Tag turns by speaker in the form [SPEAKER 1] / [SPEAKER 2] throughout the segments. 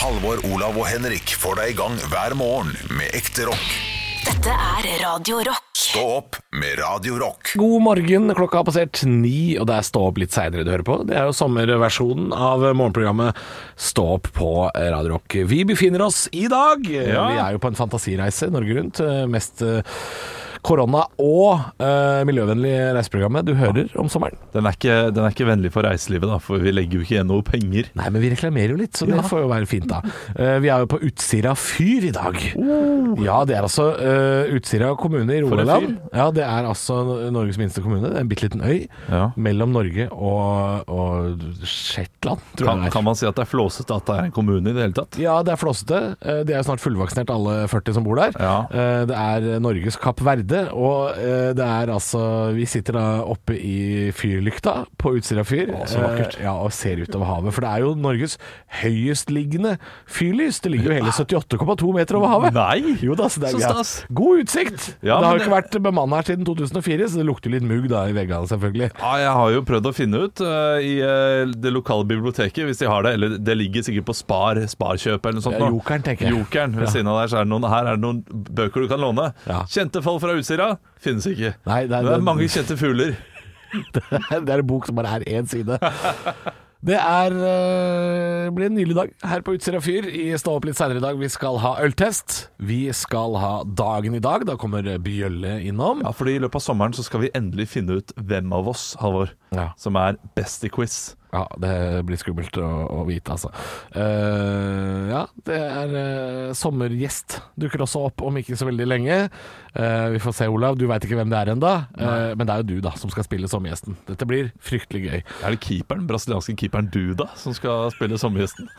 [SPEAKER 1] Halvor, Olav og Henrik får deg i gang hver morgen med ekte rock.
[SPEAKER 2] Dette er Radio Rock.
[SPEAKER 1] Stå opp med Radio Rock.
[SPEAKER 3] God morgen, klokka har passert ni, og det er Stå opp litt seinere du hører på. Det er jo sommerversjonen av morgenprogrammet Stå opp på Radio Rock. Vi befinner oss i dag. Vi er jo på en fantasireise Norge rundt. eh, Mest eh, korona og eh, miljøvennlig reiseprogrammet du hører om sommeren.
[SPEAKER 4] Den er, ikke, den er ikke vennlig for reiselivet, da, for vi legger jo ikke igjen noe penger.
[SPEAKER 3] Nei, men vi reklamerer jo litt, så det
[SPEAKER 4] Ja.
[SPEAKER 3] får jo være fint, da. Eh, Vi er jo på Utsira fyr i dag. Ja, det er altså eh, Utsira kommune i
[SPEAKER 4] Oh. en
[SPEAKER 3] Rogaland. Ja, det er altså Norges minste kommune. Det er en bitte liten øy
[SPEAKER 4] Ja.
[SPEAKER 3] mellom Norge og, og Shetland, tror
[SPEAKER 4] Kan,
[SPEAKER 3] jeg. det er.
[SPEAKER 4] kan man si at det er flåsete at det er en kommune i det hele tatt?
[SPEAKER 3] Ja, det er flåsete. Eh, De er jo snart fullvaksinert, alle 40 som bor der.
[SPEAKER 4] Ja.
[SPEAKER 3] Eh, Det er Norges Kapp Verde, og eh, det er altså Vi sitter da oppe i fyrlykta på Utsira fyr
[SPEAKER 4] Å, så vakkert.
[SPEAKER 3] eh, ja, og ser utover havet. For det er jo Norges høyestliggende fyrlys. Det ligger jo hele 78,2 meter over havet.
[SPEAKER 4] Nei!
[SPEAKER 3] Jo da, så det er
[SPEAKER 4] Så
[SPEAKER 3] ja,
[SPEAKER 4] stas.
[SPEAKER 3] God utsikt!
[SPEAKER 4] Ja,
[SPEAKER 3] det har jo
[SPEAKER 4] men
[SPEAKER 3] ikke vært bemanna her siden 2004, så det lukter litt mugg da i veggene, selvfølgelig.
[SPEAKER 4] Ja, jeg har jo prøvd å finne ut eh, i eh, det lokale biblioteket, hvis de har det. Eller det ligger sikkert på Spar, Sparkjøp eller noe sånt.
[SPEAKER 3] Ja,
[SPEAKER 4] nå.
[SPEAKER 3] Jokeren, tenker jeg.
[SPEAKER 4] Jokeren, ved
[SPEAKER 3] Ja.
[SPEAKER 4] siden av der, så er det noen, her er det noen bøker du kan låne.
[SPEAKER 3] Ja.
[SPEAKER 4] Kjente fall fra Utsira finnes ikke.
[SPEAKER 3] Nei, det er-
[SPEAKER 4] Men det er mange kjente fugler.
[SPEAKER 3] Det er en bok som bare er én side. Det er, eh, blir en nylig dag her på Utsira Fyr. I Stå opp litt seinere i dag. Vi skal ha øltest. Vi skal ha dagen i dag. Da kommer Bjølle innom.
[SPEAKER 4] Ja, fordi i løpet av sommeren så skal vi endelig finne ut hvem av oss, Halvor,
[SPEAKER 3] Ja.
[SPEAKER 4] som er best i quiz.
[SPEAKER 3] Ja, det blir skummelt å, å vite, altså. Eh, ja, det er eh, sommergjest. Dukker også opp om ikke så veldig lenge. Eh, vi får se, Olav. Du veit ikke hvem det er ennå. men det er jo du, da, som skal spille sommergjesten. Dette blir fryktelig gøy.
[SPEAKER 4] Er det keeperen, brasilianske keeperen Duda som skal spille sommergjesten?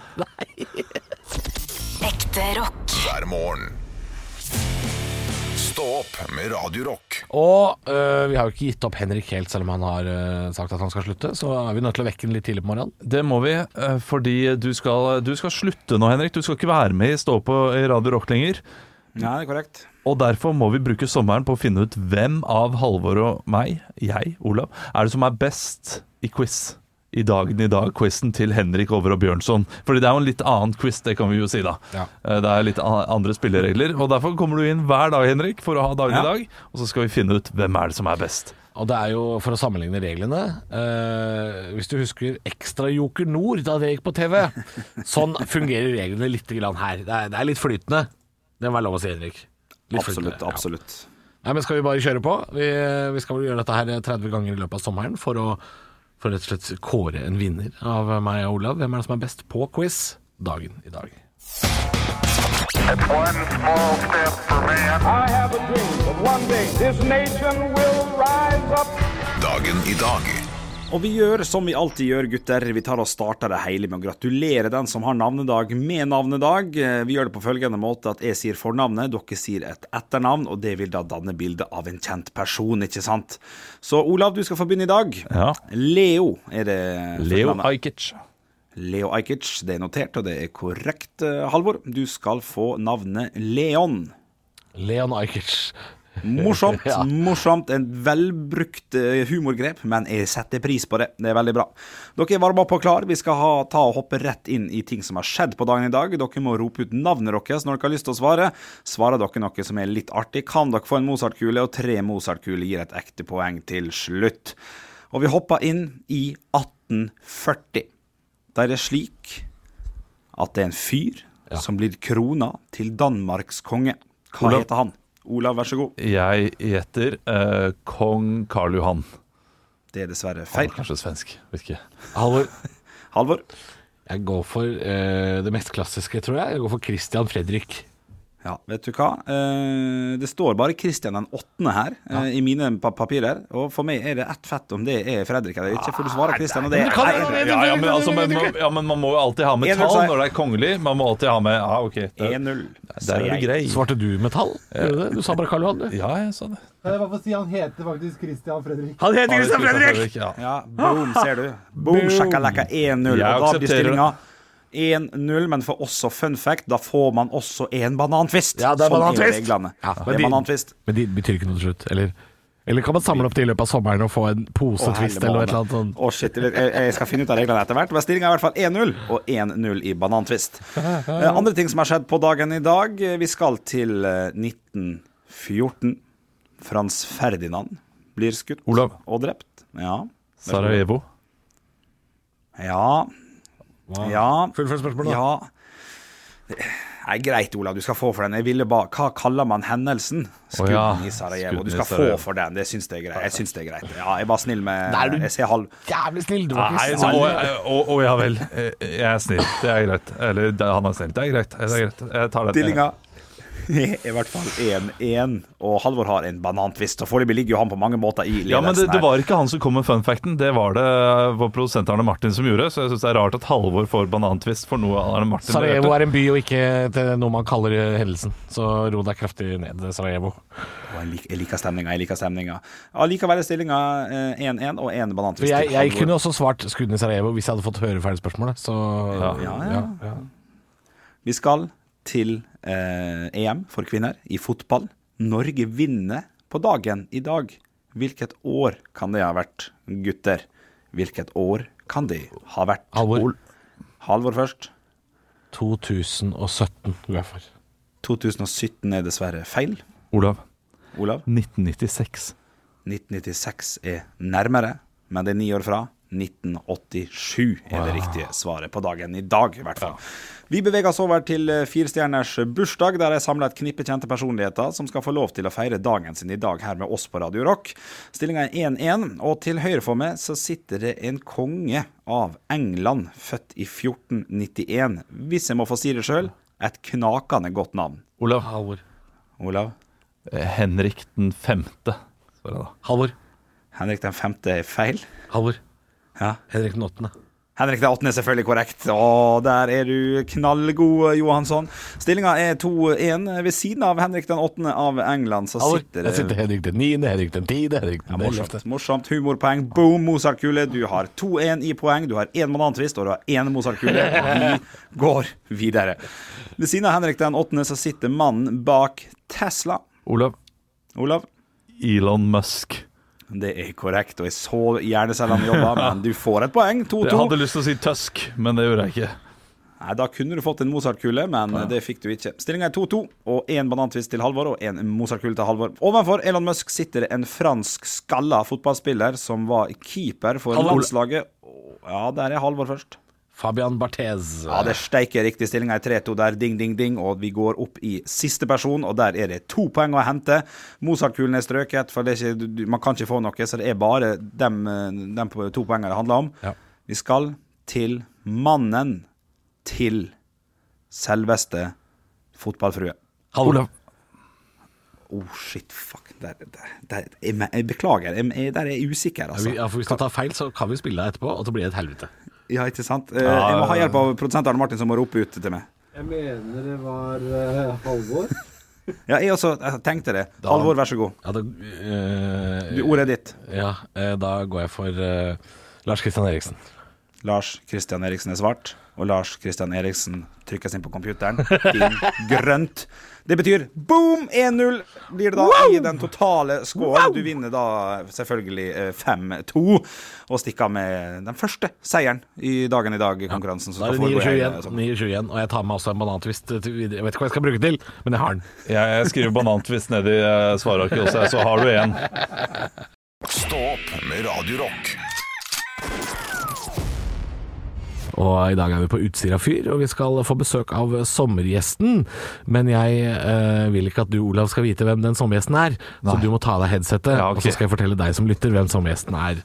[SPEAKER 2] Ekte rock.
[SPEAKER 1] Hver morgen. Stå opp med Radio Rock.
[SPEAKER 3] Og øh, vi har jo ikke gitt opp Henrik helt, selv om han har øh, sagt at han skal slutte. Så er vi nødt til å vekke ham litt tidlig på morgenen.
[SPEAKER 4] Det må vi, eh, fordi du skal, du skal slutte nå, Henrik. Du skal ikke være med i Stå på i Radio Rock lenger.
[SPEAKER 5] Ja, det er korrekt.
[SPEAKER 4] Og derfor må vi bruke sommeren på å finne ut hvem av Halvor og meg, jeg, Olav, er det som er best i quiz. I dagen i dag-quizen til Henrik Over og Bjørnson. Fordi det er jo en litt annen quiz, det kan vi jo si, da.
[SPEAKER 3] Ja.
[SPEAKER 4] Eh, Det er litt a- andre spilleregler. Og derfor kommer du inn hver dag, Henrik, for å ha dagen
[SPEAKER 5] Ja.
[SPEAKER 4] i dag. Og så skal vi finne ut hvem er det som er best.
[SPEAKER 3] Og det er jo for å sammenligne reglene øh, Hvis du husker Ekstra Joker Nord da det gikk på TV. Sånn fungerer reglene litt grann her. Det er, det er litt flytende. Det må være lov å si, Henrik. Litt flytende,
[SPEAKER 5] Absolutt.
[SPEAKER 3] ja.
[SPEAKER 5] absolutt.
[SPEAKER 3] Nei, men Skal vi bare kjøre på? Vi, vi skal vel gjøre dette her 30 ganger i løpet av sommeren for å for rett og slett kåre en vinner av meg og Olav. Hvem er det som er best på quiz dagen i dag?
[SPEAKER 6] One small step for man.
[SPEAKER 7] I have a dream that one day this nation will rise up.
[SPEAKER 1] Dagen i dag.
[SPEAKER 5] Og vi gjør som vi alltid gjør, gutter. Vi tar og starter det hele med å gratulere den som har navnedag med navnedag. Eh, Vi gjør det på følgende måte at jeg sier fornavnet, dere sier et etternavn, og det vil da danne bildet av en kjent person, ikke sant? Så Olav, du skal få begynne i dag.
[SPEAKER 4] Ja.
[SPEAKER 5] Leo er det
[SPEAKER 4] Leo
[SPEAKER 5] fornavnet.
[SPEAKER 4] Ajkic.
[SPEAKER 5] Leo Ajkic, det er notert, og det er korrekt, eh, Halvor. Du skal få navnet Leon.
[SPEAKER 3] Leon Ajkic.
[SPEAKER 5] Morsomt.
[SPEAKER 3] Ja.
[SPEAKER 5] morsomt En velbrukt eh, humorgrep, men jeg setter pris på det. Det er veldig bra. Dere er varma på klar. Vi skal ha, ta og hoppe rett inn i ting som har skjedd på dagen i dag. Dere må rope ut navnet deres når dere har lyst til å svare. Svarer dere noe som er litt artig, kan dere få en Mozart-kule, og tre Mozart-kuler gir et ekte poeng til slutt. Og vi hopper inn i 1840. Der er det slik at det er en fyr som blir krona til Danmarks konge. Hva
[SPEAKER 4] Olav.
[SPEAKER 5] heter han? Olav, vær så god.
[SPEAKER 4] Jeg gjetter eh, kong Karl Johan.
[SPEAKER 5] Det er dessverre
[SPEAKER 4] Han
[SPEAKER 5] feil.
[SPEAKER 4] er kanskje svensk. Vet ikke.
[SPEAKER 3] Halvor,
[SPEAKER 5] Halvor?
[SPEAKER 3] Jeg går for eh, det mest klassiske, tror jeg. Jeg går for Christian Fredrik.
[SPEAKER 5] Ja, vet du hva? Eh, det står bare Kristian den åttende her eh, i mine pa papirer. Og for meg er det ett fett om det er Fredrik eller ikke, for du svarer Kristian, og det er
[SPEAKER 4] Ja, ja, men, altså, men, man- ja, men man må jo alltid ha med
[SPEAKER 5] En vil
[SPEAKER 4] tall
[SPEAKER 5] si-
[SPEAKER 4] når det er kongelig. Man må alltid ha med Ja, OK. Der,
[SPEAKER 5] 1-0.
[SPEAKER 4] der er du grei.
[SPEAKER 3] Svarte du med tall? Gjorde du det? Du sa bare Karl Johan, du.
[SPEAKER 4] Ja, jeg sa det.
[SPEAKER 8] Jeg vil bare få si han heter faktisk Christian Fredrik.
[SPEAKER 3] Han heter
[SPEAKER 4] Christian Fredrik, ja.
[SPEAKER 5] Ja, boom, ser du. Boom, sjakalaka 1-0. Og
[SPEAKER 4] Jeg
[SPEAKER 5] da blir
[SPEAKER 4] aksepterer
[SPEAKER 5] stillinga 1-0, men for også fun fact, da får man også en banantvist.
[SPEAKER 3] Ja, det er
[SPEAKER 5] Sånn
[SPEAKER 3] banantvist.
[SPEAKER 5] reglene.
[SPEAKER 3] Ja,
[SPEAKER 5] det
[SPEAKER 3] men
[SPEAKER 5] er
[SPEAKER 3] de-
[SPEAKER 5] banantvist.
[SPEAKER 3] Men det betyr ikke noe til slutt, eller? Eller kan man samle opp det i løpet av sommeren og få en posetvist
[SPEAKER 5] Å,
[SPEAKER 3] eller noe
[SPEAKER 5] helvete.
[SPEAKER 3] eller annet sånt?
[SPEAKER 5] Å, shit, jeg, jeg skal finne ut av reglene etter hvert. Men stillinga er i hvert fall 1-0, og 1-0 i banantvist. Eh, Andre ting som har skjedd på dagen i dag. eh, Vi skal til eh, 1914. Frans Ferdinand blir skutt
[SPEAKER 4] Olav.
[SPEAKER 5] og drept. Ja.
[SPEAKER 4] Sarajevo.
[SPEAKER 5] Ja. Ja.
[SPEAKER 3] Fullfør spørsmålet, da.
[SPEAKER 5] ja. Nei, greit, Olav, du skal få for den. Jeg ville bare Hva kaller man hendelsen? Skudden
[SPEAKER 4] ja.
[SPEAKER 5] i Sarajevo.
[SPEAKER 4] Skudden
[SPEAKER 5] Du
[SPEAKER 4] i
[SPEAKER 5] skal få
[SPEAKER 4] Sarajevo.
[SPEAKER 5] for den. Det syns jeg er greit. Jeg syns det er greit. Ja, jeg var snill med
[SPEAKER 3] Nei, du-
[SPEAKER 5] Jeg ser halv...
[SPEAKER 3] Jævlig snill, du var
[SPEAKER 4] Nei,
[SPEAKER 3] ikke
[SPEAKER 4] så, å,
[SPEAKER 3] snill.
[SPEAKER 4] å, å ja vel. Eh, Jeg er snill. Det er greit. Eller det- han er snill. Det er greit. Det er greit. Jeg tar den.
[SPEAKER 5] Stillinga er i hvert fall 1-1, og Halvor har en banantvist. Og foreløpig ligger jo han på mange måter i ledelsen
[SPEAKER 4] Ja, men det, det
[SPEAKER 5] her.
[SPEAKER 4] var ikke han som kom med fun facten. Det var det vår produsent Arne Martin som gjorde. Så jeg syns det er rart at Halvor får banantvist for noe Arne Martin
[SPEAKER 3] Sarajevo
[SPEAKER 4] leverte.
[SPEAKER 3] er en by og ikke til noe man kaller eh, hendelsen, så ro deg kraftig ned, Sarajevo.
[SPEAKER 5] Og Jeg lik- jeg liker stemninga, jeg liker stemninga. Allikevel er stillinga eh, 1-1 og én
[SPEAKER 3] For
[SPEAKER 5] banantvist.
[SPEAKER 3] jeg,
[SPEAKER 5] til
[SPEAKER 3] jeg
[SPEAKER 5] Halvor.
[SPEAKER 3] kunne også svart 'Skudden i Sarajevo' hvis jeg hadde fått høre ferdig spørsmålet, så
[SPEAKER 5] Ja, ja. Vi skal til eh, EM for kvinner i fotball. Norge vinner på dagen i dag. Hvilket år kan det ha vært, gutter? Hvilket år kan det ha vært?
[SPEAKER 3] Halvor.
[SPEAKER 5] Ol- Halvor først.
[SPEAKER 3] 2017 går jeg for.
[SPEAKER 5] 2017 er dessverre feil.
[SPEAKER 4] Olav.
[SPEAKER 5] Olav?
[SPEAKER 4] 1996.
[SPEAKER 5] 1996 er nærmere, men det er ni år fra. 1987 er det riktige svaret på dagen i dag, i hvert fall. Vi beveger oss over til eh, firestjerners bursdag, der jeg samler et knippe kjente personligheter som skal få lov til å feire dagen sin i dag her med oss på Radio Rock. Stillinga er 1-1, og til høyre for meg så sitter det en konge av England, født i 1491. Hvis jeg må få si det sjøl, et knakende godt navn.
[SPEAKER 4] Olav.
[SPEAKER 5] Olav?
[SPEAKER 4] Eh, Henrik den femte. svarer jeg da.
[SPEAKER 3] Halvor.
[SPEAKER 5] Henrik den femte er feil.
[SPEAKER 3] Halvor.
[SPEAKER 5] Ja.
[SPEAKER 3] Henrik den åttende.
[SPEAKER 5] Henrik den 8. er selvfølgelig korrekt. Og der er du knallgod, Johansson. Stillinga er 2-1. Ved siden av Henrik den 8. av England så
[SPEAKER 3] Halvor.
[SPEAKER 5] sitter
[SPEAKER 3] Jeg
[SPEAKER 5] det
[SPEAKER 3] sitter Henrik den niende, Henrik den tiende, Henrik den ellevte.
[SPEAKER 5] Morsomt. Morsomt. Humorpoeng. Boom, Mozart-kule. Du har 2-1 i poeng. Du har én banantvist, og du har én Mozart-kule. Vi går videre. Ved siden av Henrik den 8. så sitter mannen bak Tesla.
[SPEAKER 4] Olav.
[SPEAKER 5] Olav?
[SPEAKER 4] Elon Musk.
[SPEAKER 5] Det er korrekt, og jeg så gjerne selv om jobba, men du får et poeng. 2-2.
[SPEAKER 4] Jeg hadde lyst til å si Tusk, men det gjorde jeg ikke.
[SPEAKER 5] Nei, Da kunne du fått en Mozart-kule, men det fikk du ikke. Stillinga er 2-2, og én banantvist til Halvor og én Mozart-kule til Halvor. Ovenfor Elon Musk sitter det en fransk skalla fotballspiller som var keeper for landslaget. Å, Ja, der er Halvor først.
[SPEAKER 3] Fabian Barthez.
[SPEAKER 5] Ja, det steiker riktig. Stillinga er 3-2 der, ding, ding, ding, og vi går opp i siste person, og der er det to poeng å hente. Mozart-kulen er strøket, for det er ikke, du- du- man kan ikke få noe, så det er bare dem, eh, dem på to poengene det handler om.
[SPEAKER 3] Ja.
[SPEAKER 5] Vi skal til mannen til selveste fotballfrue.
[SPEAKER 3] Halvor.
[SPEAKER 5] Oh, shit, fuck. Der, der, der, jeg, me- jeg beklager, jeg, jeg, der er jeg usikker,
[SPEAKER 3] Ja, vi-
[SPEAKER 5] altså.
[SPEAKER 3] ja, for Hvis du tar feil, så kan vi spille deg etterpå, og så blir det et helvete.
[SPEAKER 5] Ja, ikke sant? Eh, Jeg må ha hjelp av produsent Arne Martin, som må rope ut til meg.
[SPEAKER 8] Jeg mener det var eh, Halvor.
[SPEAKER 5] Ja, jeg også jeg tenkte det. Halvor, vær så god.
[SPEAKER 3] Ja, da, eh,
[SPEAKER 5] Du, Ordet er ditt.
[SPEAKER 3] ja eh, da går jeg for eh, Lars Kristian Eriksen.
[SPEAKER 5] Lars Kristian Eriksen er svart, og Lars Kristian Eriksen trykkes inn på computeren. Din grønt. Det betyr boom! 1-0 blir det da i den totale scoren. Du vinner da selvfølgelig eh, 5-2 og stikker av med den første seieren i dagen i dag i konkurransen. som
[SPEAKER 3] Da er det
[SPEAKER 5] skal foregå
[SPEAKER 3] 29
[SPEAKER 5] i
[SPEAKER 3] igjen,
[SPEAKER 5] helgen.
[SPEAKER 3] 29 igjen, og jeg tar med også en banantvist til videre. Jeg vet ikke hva jeg skal bruke den til, men jeg har den.
[SPEAKER 4] Jeg, jeg skriver banantvist nedi eh, svararket også, jeg, så har du én.
[SPEAKER 1] Stå opp med Radio Rock.
[SPEAKER 3] Og i dag er vi på Utsira fyr, og vi skal få besøk av sommergjesten. Men jeg eh, vil ikke at du, Olav, skal vite hvem den sommergjesten er. Så du må ta av deg headsetet,
[SPEAKER 4] Ja, ok.
[SPEAKER 3] og så skal jeg fortelle deg som lytter hvem sommergjesten er.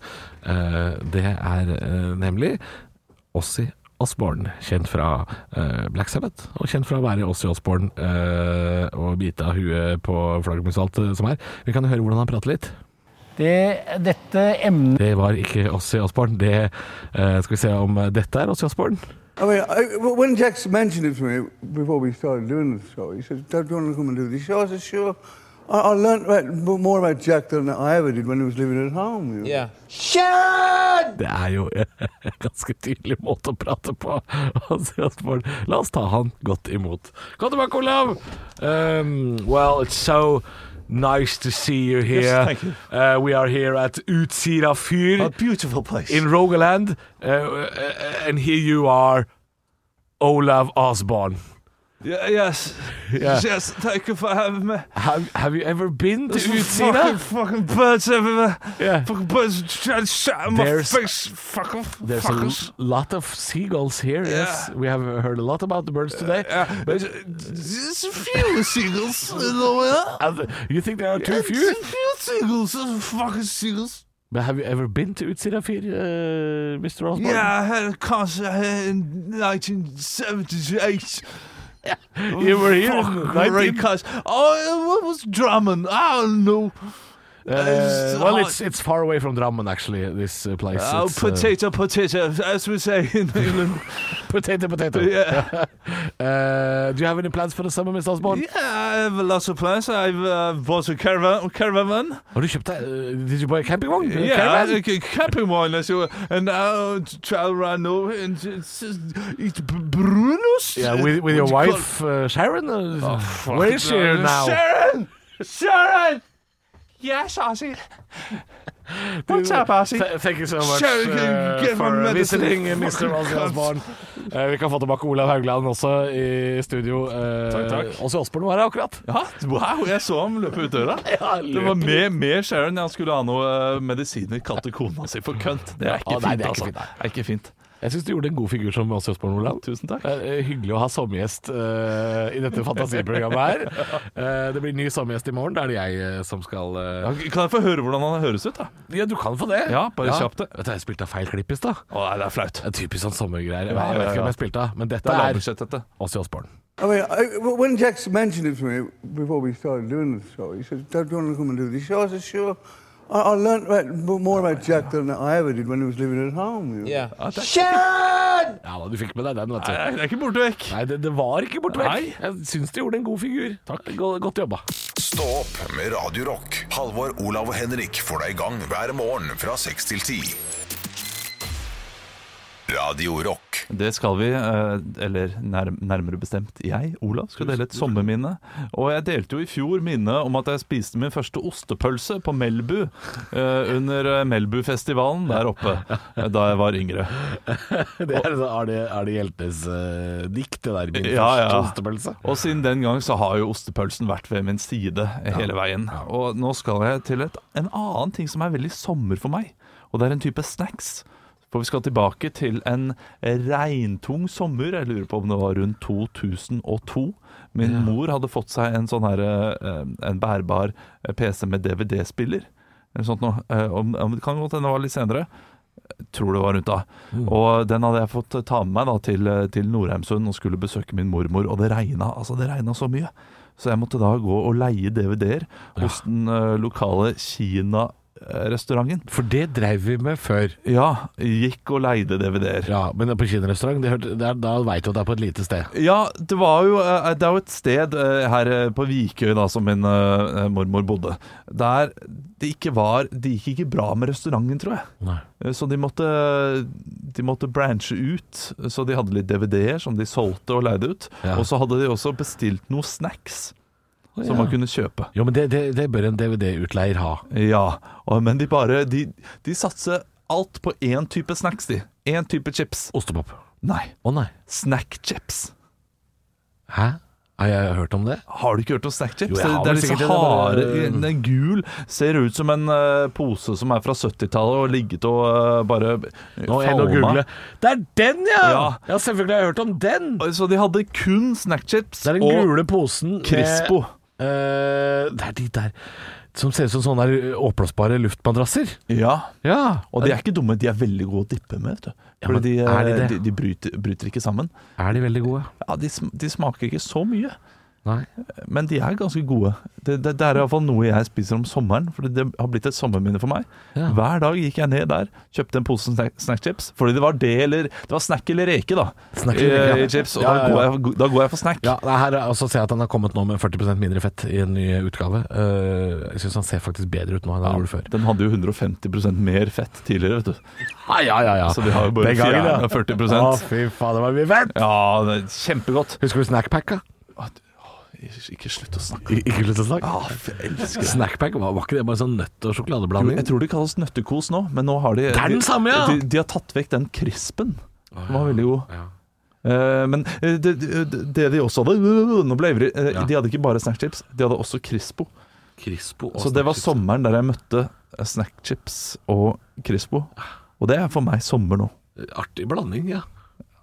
[SPEAKER 3] Eh, det er eh, nemlig Ossi Osborne, kjent fra eh, Black Sabbath, og kjent fra å være Ossi Osborne eh, og bite av huet på flaggermus og alt det eh, som er. Vi kan høre hvordan han prater litt.
[SPEAKER 9] dette emnet
[SPEAKER 3] Det var ikke Ossi Osborne. Det eh, skal vi se om dette er Ossi Osborne.
[SPEAKER 10] I mean, I, when Jax mentioned it to me before we started doing the show, he said, "Dad, do you want to come and do this?" show?" I said, "Sure." I, I learned about, more about Jack than I ever did when he was living at home. You know? Yeah.
[SPEAKER 3] Det er jo en ganske tydelig måte å prate på. Altså, Osborne, La oss ta han godt imot. Kom tilbake, Olav! Um, well, it's so Nice to see you here.
[SPEAKER 4] Yes, thank you.
[SPEAKER 3] Uh, we are here at Utsira Fyr
[SPEAKER 4] beautiful place.
[SPEAKER 3] in Rogaland, uh, uh, and here you are, Olav Osborn.
[SPEAKER 4] yes. Yes, thank you for having me.
[SPEAKER 3] Have, have you ever been to
[SPEAKER 4] fucking,
[SPEAKER 3] Utsira?
[SPEAKER 4] fucking birds everywhere.
[SPEAKER 3] Yeah.
[SPEAKER 4] Fucking birds trying to shut in my
[SPEAKER 3] There's-
[SPEAKER 4] face. Fuck off.
[SPEAKER 3] There's a l-
[SPEAKER 4] fuckers.
[SPEAKER 3] lot of seagulls here. Yes, we have heard a lot about the birds today.
[SPEAKER 4] Yeah, but there's a few seagulls in the way.
[SPEAKER 3] Uh, you think there are too
[SPEAKER 4] There's
[SPEAKER 3] few?
[SPEAKER 4] a few seagulls. There's fucking seagulls.
[SPEAKER 3] But have you ever been to Utsira Fyr, uh, Mr. Osborn?
[SPEAKER 4] Yeah, I had a concert here in 1978.
[SPEAKER 3] you were here. in
[SPEAKER 4] Fuck,
[SPEAKER 3] 19
[SPEAKER 4] great concert. Oh, what was Drummond? I don't know.
[SPEAKER 3] Uh, well,
[SPEAKER 4] hard.
[SPEAKER 3] it's it's far away from Drammen, actually. This uh, place.
[SPEAKER 4] Oh,
[SPEAKER 3] It's, uh,
[SPEAKER 4] potato, potato, as we say in England.
[SPEAKER 3] potato, potato.
[SPEAKER 4] yeah.
[SPEAKER 3] Uh, do you have any plans for the summer, Mr. Osborn?
[SPEAKER 4] yeah, I have lots of plans. I've uh, bought a caravan. caravan.
[SPEAKER 3] Har du kjøpt deg uh, Did you buy a campingvogn? A
[SPEAKER 4] Yeah,
[SPEAKER 3] Uh, caravan?
[SPEAKER 4] a ca- camping one. I saw- And now to travel around Norway and just, just eat b- Brunos.
[SPEAKER 3] Yeah, with, with your
[SPEAKER 4] What do you
[SPEAKER 3] wife uh, Sharon. Uh,
[SPEAKER 4] call- Fuck,
[SPEAKER 3] where is she
[SPEAKER 4] uh,
[SPEAKER 3] now?
[SPEAKER 4] Sharon! Sharon! Yes, Ozzy. What's up, Ozzy?
[SPEAKER 3] Th- Thank you so much
[SPEAKER 4] Sharon, can
[SPEAKER 3] uh,
[SPEAKER 4] you give
[SPEAKER 3] for
[SPEAKER 4] her
[SPEAKER 3] uh,
[SPEAKER 4] medicine? Oh
[SPEAKER 3] visiting, uh, Mr.
[SPEAKER 4] Fucking
[SPEAKER 3] Ozzy
[SPEAKER 4] cunt.
[SPEAKER 3] Osborn. Uh, vi kan få tilbake Olav Haugland også i studio. Uh,
[SPEAKER 4] Takk, takk.
[SPEAKER 3] Ozzy Osborn var her akkurat.
[SPEAKER 4] Ja, wow, jeg så ham løpe ut døra. Det var mer, mer Sharon han skulle ha noe eh, medisiner kalte kona si for kønt. Det er ikke
[SPEAKER 3] Ja, nei, det
[SPEAKER 4] fint,
[SPEAKER 3] er ikke
[SPEAKER 4] altså.
[SPEAKER 3] fint, nei.
[SPEAKER 4] Det er ikke fint.
[SPEAKER 3] Jeg syns du gjorde en god figur som Ozzy Osborn, Olav.
[SPEAKER 4] Tusen takk.
[SPEAKER 3] Det er eh, hyggelig å ha sommergjest eh, i dette fantasiprogrammet her. Eh, det blir ny sommergjest i morgen. Da er det jeg eh, som skal eh,
[SPEAKER 4] Ja, Kan jeg få høre hvordan han høres ut, da?
[SPEAKER 3] Ja, du kan få det.
[SPEAKER 4] Ja, bare kjapt det.
[SPEAKER 3] Vet du, jeg spilte av feil klipp i stad.
[SPEAKER 4] Å, nei, det er flaut.
[SPEAKER 3] Det er Typisk sånn sommergreier. Jeg
[SPEAKER 4] Ja,
[SPEAKER 3] vet
[SPEAKER 4] ja,
[SPEAKER 3] ikke
[SPEAKER 4] ja.
[SPEAKER 3] hvem jeg spilte av, men
[SPEAKER 4] Det
[SPEAKER 3] dette
[SPEAKER 4] er
[SPEAKER 3] er
[SPEAKER 4] lavbudsjett, dette.
[SPEAKER 3] Ozzy Osborn.
[SPEAKER 10] I mean, I, w- when Jax mentioned it to me before we started doing the show, he said, "Dad, do you want to come and do this show?" I said, "Sure." I, I learned about, m- more about Jack than I ever did when he was living at home. You know?
[SPEAKER 4] Ja, det, er,
[SPEAKER 3] Ja, da, du fikk med deg den, vet
[SPEAKER 4] Nei,
[SPEAKER 3] du.
[SPEAKER 4] det er ikke borte vekk.
[SPEAKER 3] Nei, det, det var ikke borte vekk.
[SPEAKER 4] Nei.
[SPEAKER 3] Jeg syns du gjorde en god figur. Takk. Godt jobba.
[SPEAKER 1] Stå opp med Radio Rock. Halvor, Olav og Henrik får deg i gang hver morgen fra 6 til 10. Radio Rock.
[SPEAKER 4] Det skal vi, eh, eller nær, nærmere bestemt jeg, Olav, skal dele et sommerminne. Og jeg delte jo i fjor minne om at jeg spiste min første ostepølse på Melbu eh, under eh, Melbu-festivalen der oppe eh, da jeg var yngre.
[SPEAKER 3] Det er, er det, er det Hjeltnes eh, dikt, det der? Min
[SPEAKER 4] Ja,
[SPEAKER 3] første
[SPEAKER 4] ja.
[SPEAKER 3] ostepølse?
[SPEAKER 4] Og siden den gang så har jo ostepølsen vært ved min side hele veien. Og nå skal jeg til et, en annen ting som er veldig sommer for meg, og det er en type snacks. For vi skal tilbake til en regntung sommer, jeg lurer på om det var rundt 2002. Min mor hadde fått seg en sånn her, eh, en bærbar PC med DVD-spiller. Eller sånt noe. Eh, Om, om, det kan godt hende det var litt senere tror det var rundt da. Og den hadde jeg fått ta med meg da til, til Nordheimsund og skulle besøke min mormor, og det regna altså det regnet så mye. Så jeg måtte da gå og leie DVD-er hos den eh, lokale Kina-restauranten.
[SPEAKER 3] For det dreiv vi med før.
[SPEAKER 4] Ja, gikk og leide DVD-er.
[SPEAKER 3] Ja, men på kinarestaurant, det hørte- det er- da veit du at det er på et lite sted.
[SPEAKER 4] Ja, det, var jo, eh, det er jo et sted eh, her eh, på Vikøy da, som min eh, mormor bodde, der det ikke var Det gikk ikke bra med restauranten, tror jeg.
[SPEAKER 3] Nei.
[SPEAKER 4] Eh, Så de måtte, de måtte branche ut. Så de hadde litt DVD-er som de solgte og leide ut.
[SPEAKER 3] Ja.
[SPEAKER 4] Og så hadde de også bestilt noe snacks som man kunne kjøpe.
[SPEAKER 3] Jo, men det, det, det bør en DVD-utleier ha.
[SPEAKER 4] Ja, og, Men de bare De, de satser alt på én type snacks, de. Én type chips.
[SPEAKER 3] Ostepop.
[SPEAKER 4] Nei,
[SPEAKER 3] Å nei.
[SPEAKER 4] snack-chips.
[SPEAKER 3] Hæ? Har jeg hørt om det?
[SPEAKER 4] Har du ikke hørt om snack-chips?
[SPEAKER 3] Jo, jeg
[SPEAKER 4] Det,
[SPEAKER 3] har
[SPEAKER 4] det er
[SPEAKER 3] vel
[SPEAKER 4] liksom
[SPEAKER 3] sikkert det,
[SPEAKER 4] harde,
[SPEAKER 3] det
[SPEAKER 4] den er gul, ser ut som en eh, pose som er fra 70-tallet og ligget og eh, bare
[SPEAKER 3] Nå er jeg inne og
[SPEAKER 4] falma.
[SPEAKER 3] googler. Det er den, ja!
[SPEAKER 4] Ja.
[SPEAKER 3] ja selvfølgelig har jeg hørt om den!
[SPEAKER 4] Så de hadde kun snack-chips
[SPEAKER 3] Det er den
[SPEAKER 4] og
[SPEAKER 3] gule posen med-
[SPEAKER 4] Crispo.
[SPEAKER 3] Eh, det er de der som ser ut som sånne der oppblåsbare luftmadrasser.
[SPEAKER 4] Ja,
[SPEAKER 3] Ja.
[SPEAKER 4] og de er ikke dumme, de er veldig gode å dippe med, vet du.
[SPEAKER 3] Ja, men
[SPEAKER 4] Fordi de,
[SPEAKER 3] er de
[SPEAKER 4] eh,
[SPEAKER 3] det?
[SPEAKER 4] de, de bryter, bryter ikke sammen.
[SPEAKER 3] Er de veldig gode?
[SPEAKER 4] Ja, de, sm- de smaker ikke så mye,
[SPEAKER 3] Nei.
[SPEAKER 4] men de er ganske gode. Det, det, det er iallfall noe jeg spiser om sommeren, for det har blitt et sommerminne for meg.
[SPEAKER 3] Ja.
[SPEAKER 4] Hver dag gikk jeg ned der, kjøpte en pose snack- snackchips, fordi det var det eller Det var snack eller reke, da.
[SPEAKER 3] Snack eller reke, ja.
[SPEAKER 4] i- i chips, og
[SPEAKER 3] Ja, ja,
[SPEAKER 4] Da,
[SPEAKER 3] ja.
[SPEAKER 4] går jeg, da går jeg for snack.
[SPEAKER 3] Ja, det her er- altså, ser jeg at han har kommet nå med 40 mindre fett i en ny utgave. Eh, jeg syns han ser faktisk bedre ut nå enn han gjorde før.
[SPEAKER 4] Den hadde jo 150 mer fett tidligere, vet du.
[SPEAKER 3] Ja, ja, ja, ja.
[SPEAKER 4] Så de har jo bare
[SPEAKER 3] Den gangen, ja.
[SPEAKER 4] 40
[SPEAKER 3] Å, fy faen, det var mye fett!
[SPEAKER 4] Ja, det er kjempegodt.
[SPEAKER 3] Husker du Snackpacka?
[SPEAKER 4] Ikke slutt å snakke.
[SPEAKER 3] Ikke slutt å snakke.
[SPEAKER 4] Ah, jeg elsker det.
[SPEAKER 3] Snackpack, var, var ikke det bare sånn nøtt- og sjokoladeblanding?
[SPEAKER 4] Jeg tror de kalles nøttekos nå, men nå har de
[SPEAKER 3] er den
[SPEAKER 4] de-
[SPEAKER 3] samme, ja!
[SPEAKER 4] De, de har tatt vekk den krispen. Den var veldig god. Eh, men eh, det, det, det de også hadde øh, Nå ble jeg ivrig. Eh,
[SPEAKER 3] Ja.
[SPEAKER 4] De hadde ikke bare snackchips, de hadde også Crispo.
[SPEAKER 3] Crispo og
[SPEAKER 4] Så det var
[SPEAKER 3] snackchips.
[SPEAKER 4] sommeren der jeg møtte eh, snackchips og Crispo. Og det er for meg sommer nå.
[SPEAKER 3] Artig blanding, ja.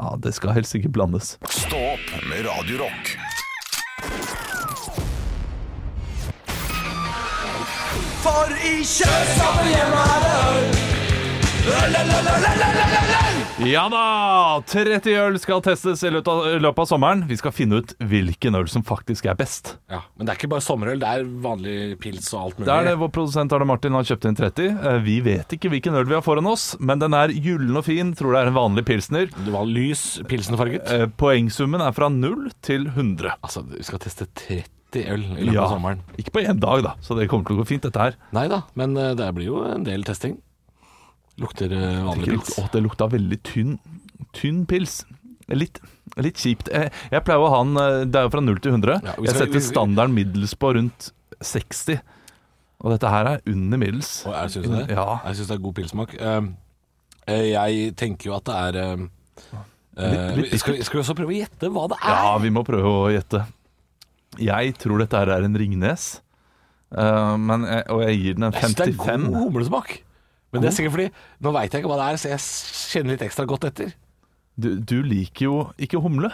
[SPEAKER 4] Ja, Det skal helst ikke blandes.
[SPEAKER 1] Stå opp med Radio Rock.
[SPEAKER 4] Ja da! 30 øl skal testes i løpet av, i løpet av sommeren. Vi skal finne ut hvilken øl som faktisk er best.
[SPEAKER 3] ja. Men det er ikke bare sommerøl, det er vanlig pils og alt mulig.
[SPEAKER 4] Det er det Vår produsent Arne Martin har kjøpt inn 30. Eh, Vi vet ikke hvilken øl vi har foran oss, men den er gyllen og fin. Tror det er en vanlig pilsner.
[SPEAKER 3] Det var lys pilsenfarget.
[SPEAKER 4] Eh, Poengsummen er fra 0 til 100.
[SPEAKER 3] Altså, vi skal teste 30 øl i løpet
[SPEAKER 4] Ja.
[SPEAKER 3] av sommeren.
[SPEAKER 4] Ikke på én dag, da, så det kommer til å gå fint, dette her.
[SPEAKER 3] Nei da, men eh, det blir jo en del testing. Lukter eh, vanlig pils.
[SPEAKER 4] Å, det lukta veldig tynn, tynn pils. Litt, litt kjipt. Eh, Jeg pleier å ha den eh, Det er jo fra 0 til 100.
[SPEAKER 3] Ja, vi
[SPEAKER 4] Jeg
[SPEAKER 3] skal- vi-
[SPEAKER 4] setter standarden middels på rundt 60. Og dette her er under middels.
[SPEAKER 3] Og jeg syns det.
[SPEAKER 4] Ja.
[SPEAKER 3] Jeg synes det er god pilsmak. Um, eh, jeg tenker jo at det er um, eh,
[SPEAKER 4] Litt- litt
[SPEAKER 3] skal, vi- skal vi også prøve å gjette hva det er?
[SPEAKER 4] Ja, vi må prøve å gjette. Jeg tror dette her er en Ringnes, Eh, men jeg, og jeg gir den en
[SPEAKER 3] jeg syns det er
[SPEAKER 4] 55.
[SPEAKER 3] god humlesmak. Men det er sikkert fordi nå veit jeg ikke hva det er, så jeg s- kjenner litt ekstra godt etter.
[SPEAKER 4] Du, du liker jo ikke humle,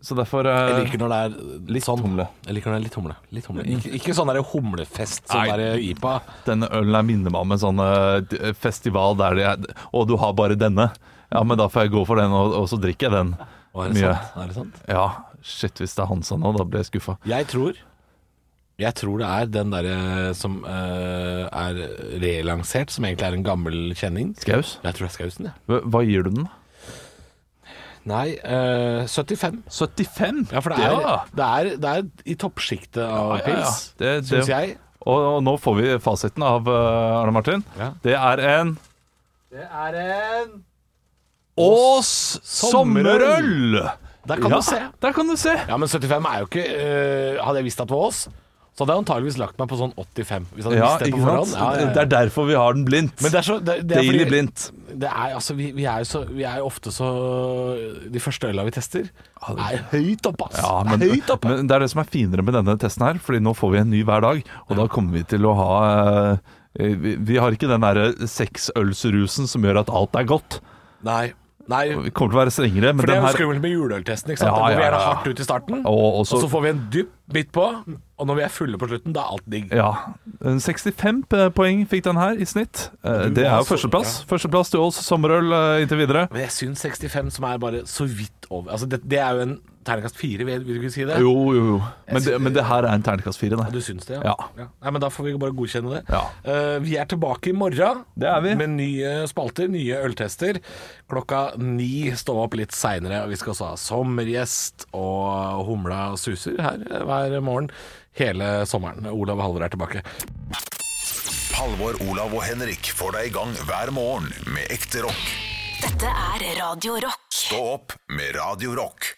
[SPEAKER 4] så derfor eh,
[SPEAKER 3] Jeg liker når det er
[SPEAKER 4] litt
[SPEAKER 3] sånn.
[SPEAKER 4] humle. Mm.
[SPEAKER 3] Jeg liker når det er litt humle. Litt humle. Ikke, ikke sånn der humlefest, sånn
[SPEAKER 4] Nei.
[SPEAKER 3] der IPA.
[SPEAKER 4] Denne ølen er minner meg om en sånn eh, d- festival der det er Å, du har bare denne. Ja, men da får jeg gå for den, og, og så drikker jeg den.
[SPEAKER 3] Å, er det
[SPEAKER 4] Mye.
[SPEAKER 3] sant? Er det sant?
[SPEAKER 4] Ja, shit, hvis det er Hansa nå, da blir jeg skuffa.
[SPEAKER 3] Jeg tror jeg tror det er den derre som eh, er relansert, som egentlig er en gammel kjenning.
[SPEAKER 4] Skaus,
[SPEAKER 3] Jeg tror det er Skausen, jeg.
[SPEAKER 4] hva hva gir du den?
[SPEAKER 3] Nei, eh, 75.
[SPEAKER 4] 75?
[SPEAKER 3] Ja, for det er,
[SPEAKER 4] Ja.
[SPEAKER 3] det er, det er i toppsjiktet av
[SPEAKER 4] Ja, ja, ja.
[SPEAKER 3] pils,
[SPEAKER 4] Det, det,
[SPEAKER 3] syns jeg.
[SPEAKER 4] Og, og nå får vi fasiten av eh, Arne Martin.
[SPEAKER 3] Ja.
[SPEAKER 4] Det er en
[SPEAKER 8] Det er en
[SPEAKER 4] Ås
[SPEAKER 3] sommerøl! Der kan
[SPEAKER 4] Ja,
[SPEAKER 3] du se.
[SPEAKER 4] Der kan du se.
[SPEAKER 3] Ja, men 75 er jo ikke eh, Hadde jeg visst at det var oss, så hadde jeg antageligvis lagt meg på sånn 85. Hvis jeg hadde
[SPEAKER 4] Ja,
[SPEAKER 3] visst det
[SPEAKER 4] ikke
[SPEAKER 3] på forhånd.
[SPEAKER 4] sant?
[SPEAKER 3] Ja, ja, ja.
[SPEAKER 4] Det er derfor vi har den blindt.
[SPEAKER 3] Men det er så det, det er
[SPEAKER 4] Daily
[SPEAKER 3] fordi-
[SPEAKER 4] blindt.
[SPEAKER 3] Det er, altså, vi, vi er jo så, vi er jo ofte så De første øla vi tester, er høyt oppe, ass.
[SPEAKER 4] Ja,
[SPEAKER 3] det
[SPEAKER 4] men,
[SPEAKER 3] er høyt oppe.
[SPEAKER 4] men det er det som er finere med denne testen her, Fordi nå får vi en ny hver dag, og da kommer vi til å ha eh, vi, vi har ikke den derre seksølsrusen som gjør at alt er godt.
[SPEAKER 3] Nei. Nei
[SPEAKER 4] Vi kommer til å være strengere, men
[SPEAKER 3] for det er
[SPEAKER 4] den
[SPEAKER 3] jo
[SPEAKER 4] her
[SPEAKER 3] skummelt med juleøltesten. ikke sant?
[SPEAKER 4] Ja,
[SPEAKER 3] Da går vi
[SPEAKER 4] ja,
[SPEAKER 3] gjerne
[SPEAKER 4] ja.
[SPEAKER 3] hardt ut i starten,
[SPEAKER 4] Og
[SPEAKER 3] og
[SPEAKER 4] også-
[SPEAKER 3] så får vi en dypp midt på. Og når vi er fulle på slutten, da er alt digg.
[SPEAKER 4] Ja. en 65 p- poeng fikk den her i snitt. Eh,
[SPEAKER 3] Du
[SPEAKER 4] Det er
[SPEAKER 3] var
[SPEAKER 4] jo
[SPEAKER 3] så-
[SPEAKER 4] førsteplass. Førsteplass til Åls sommerøl eh, inntil videre.
[SPEAKER 3] Men jeg syns 65, som er bare så vidt over Altså, Det, det er jo en terningkast fire, vil vil du ikke si det?
[SPEAKER 4] Jo, jo, jo. Men det, men det her er en terningkast fire,
[SPEAKER 3] Ja, Du
[SPEAKER 4] det.
[SPEAKER 3] syns det,
[SPEAKER 4] Ja.
[SPEAKER 3] Nei, men Da får vi bare godkjenne det.
[SPEAKER 4] Ja.
[SPEAKER 3] Eh, vi er tilbake i morgen
[SPEAKER 4] Det er vi.
[SPEAKER 3] med nye spalter, nye øltester. Klokka ni står vi opp litt seinere. Vi skal også ha sommergjest og humla suser her eh, hver morgen hele sommeren. Olav Halvor er tilbake.
[SPEAKER 1] Halvor, Olav og Henrik får deg i gang hver morgen med ekte rock.
[SPEAKER 2] Dette er Radio Rock.
[SPEAKER 1] Stå opp med Radio Rock.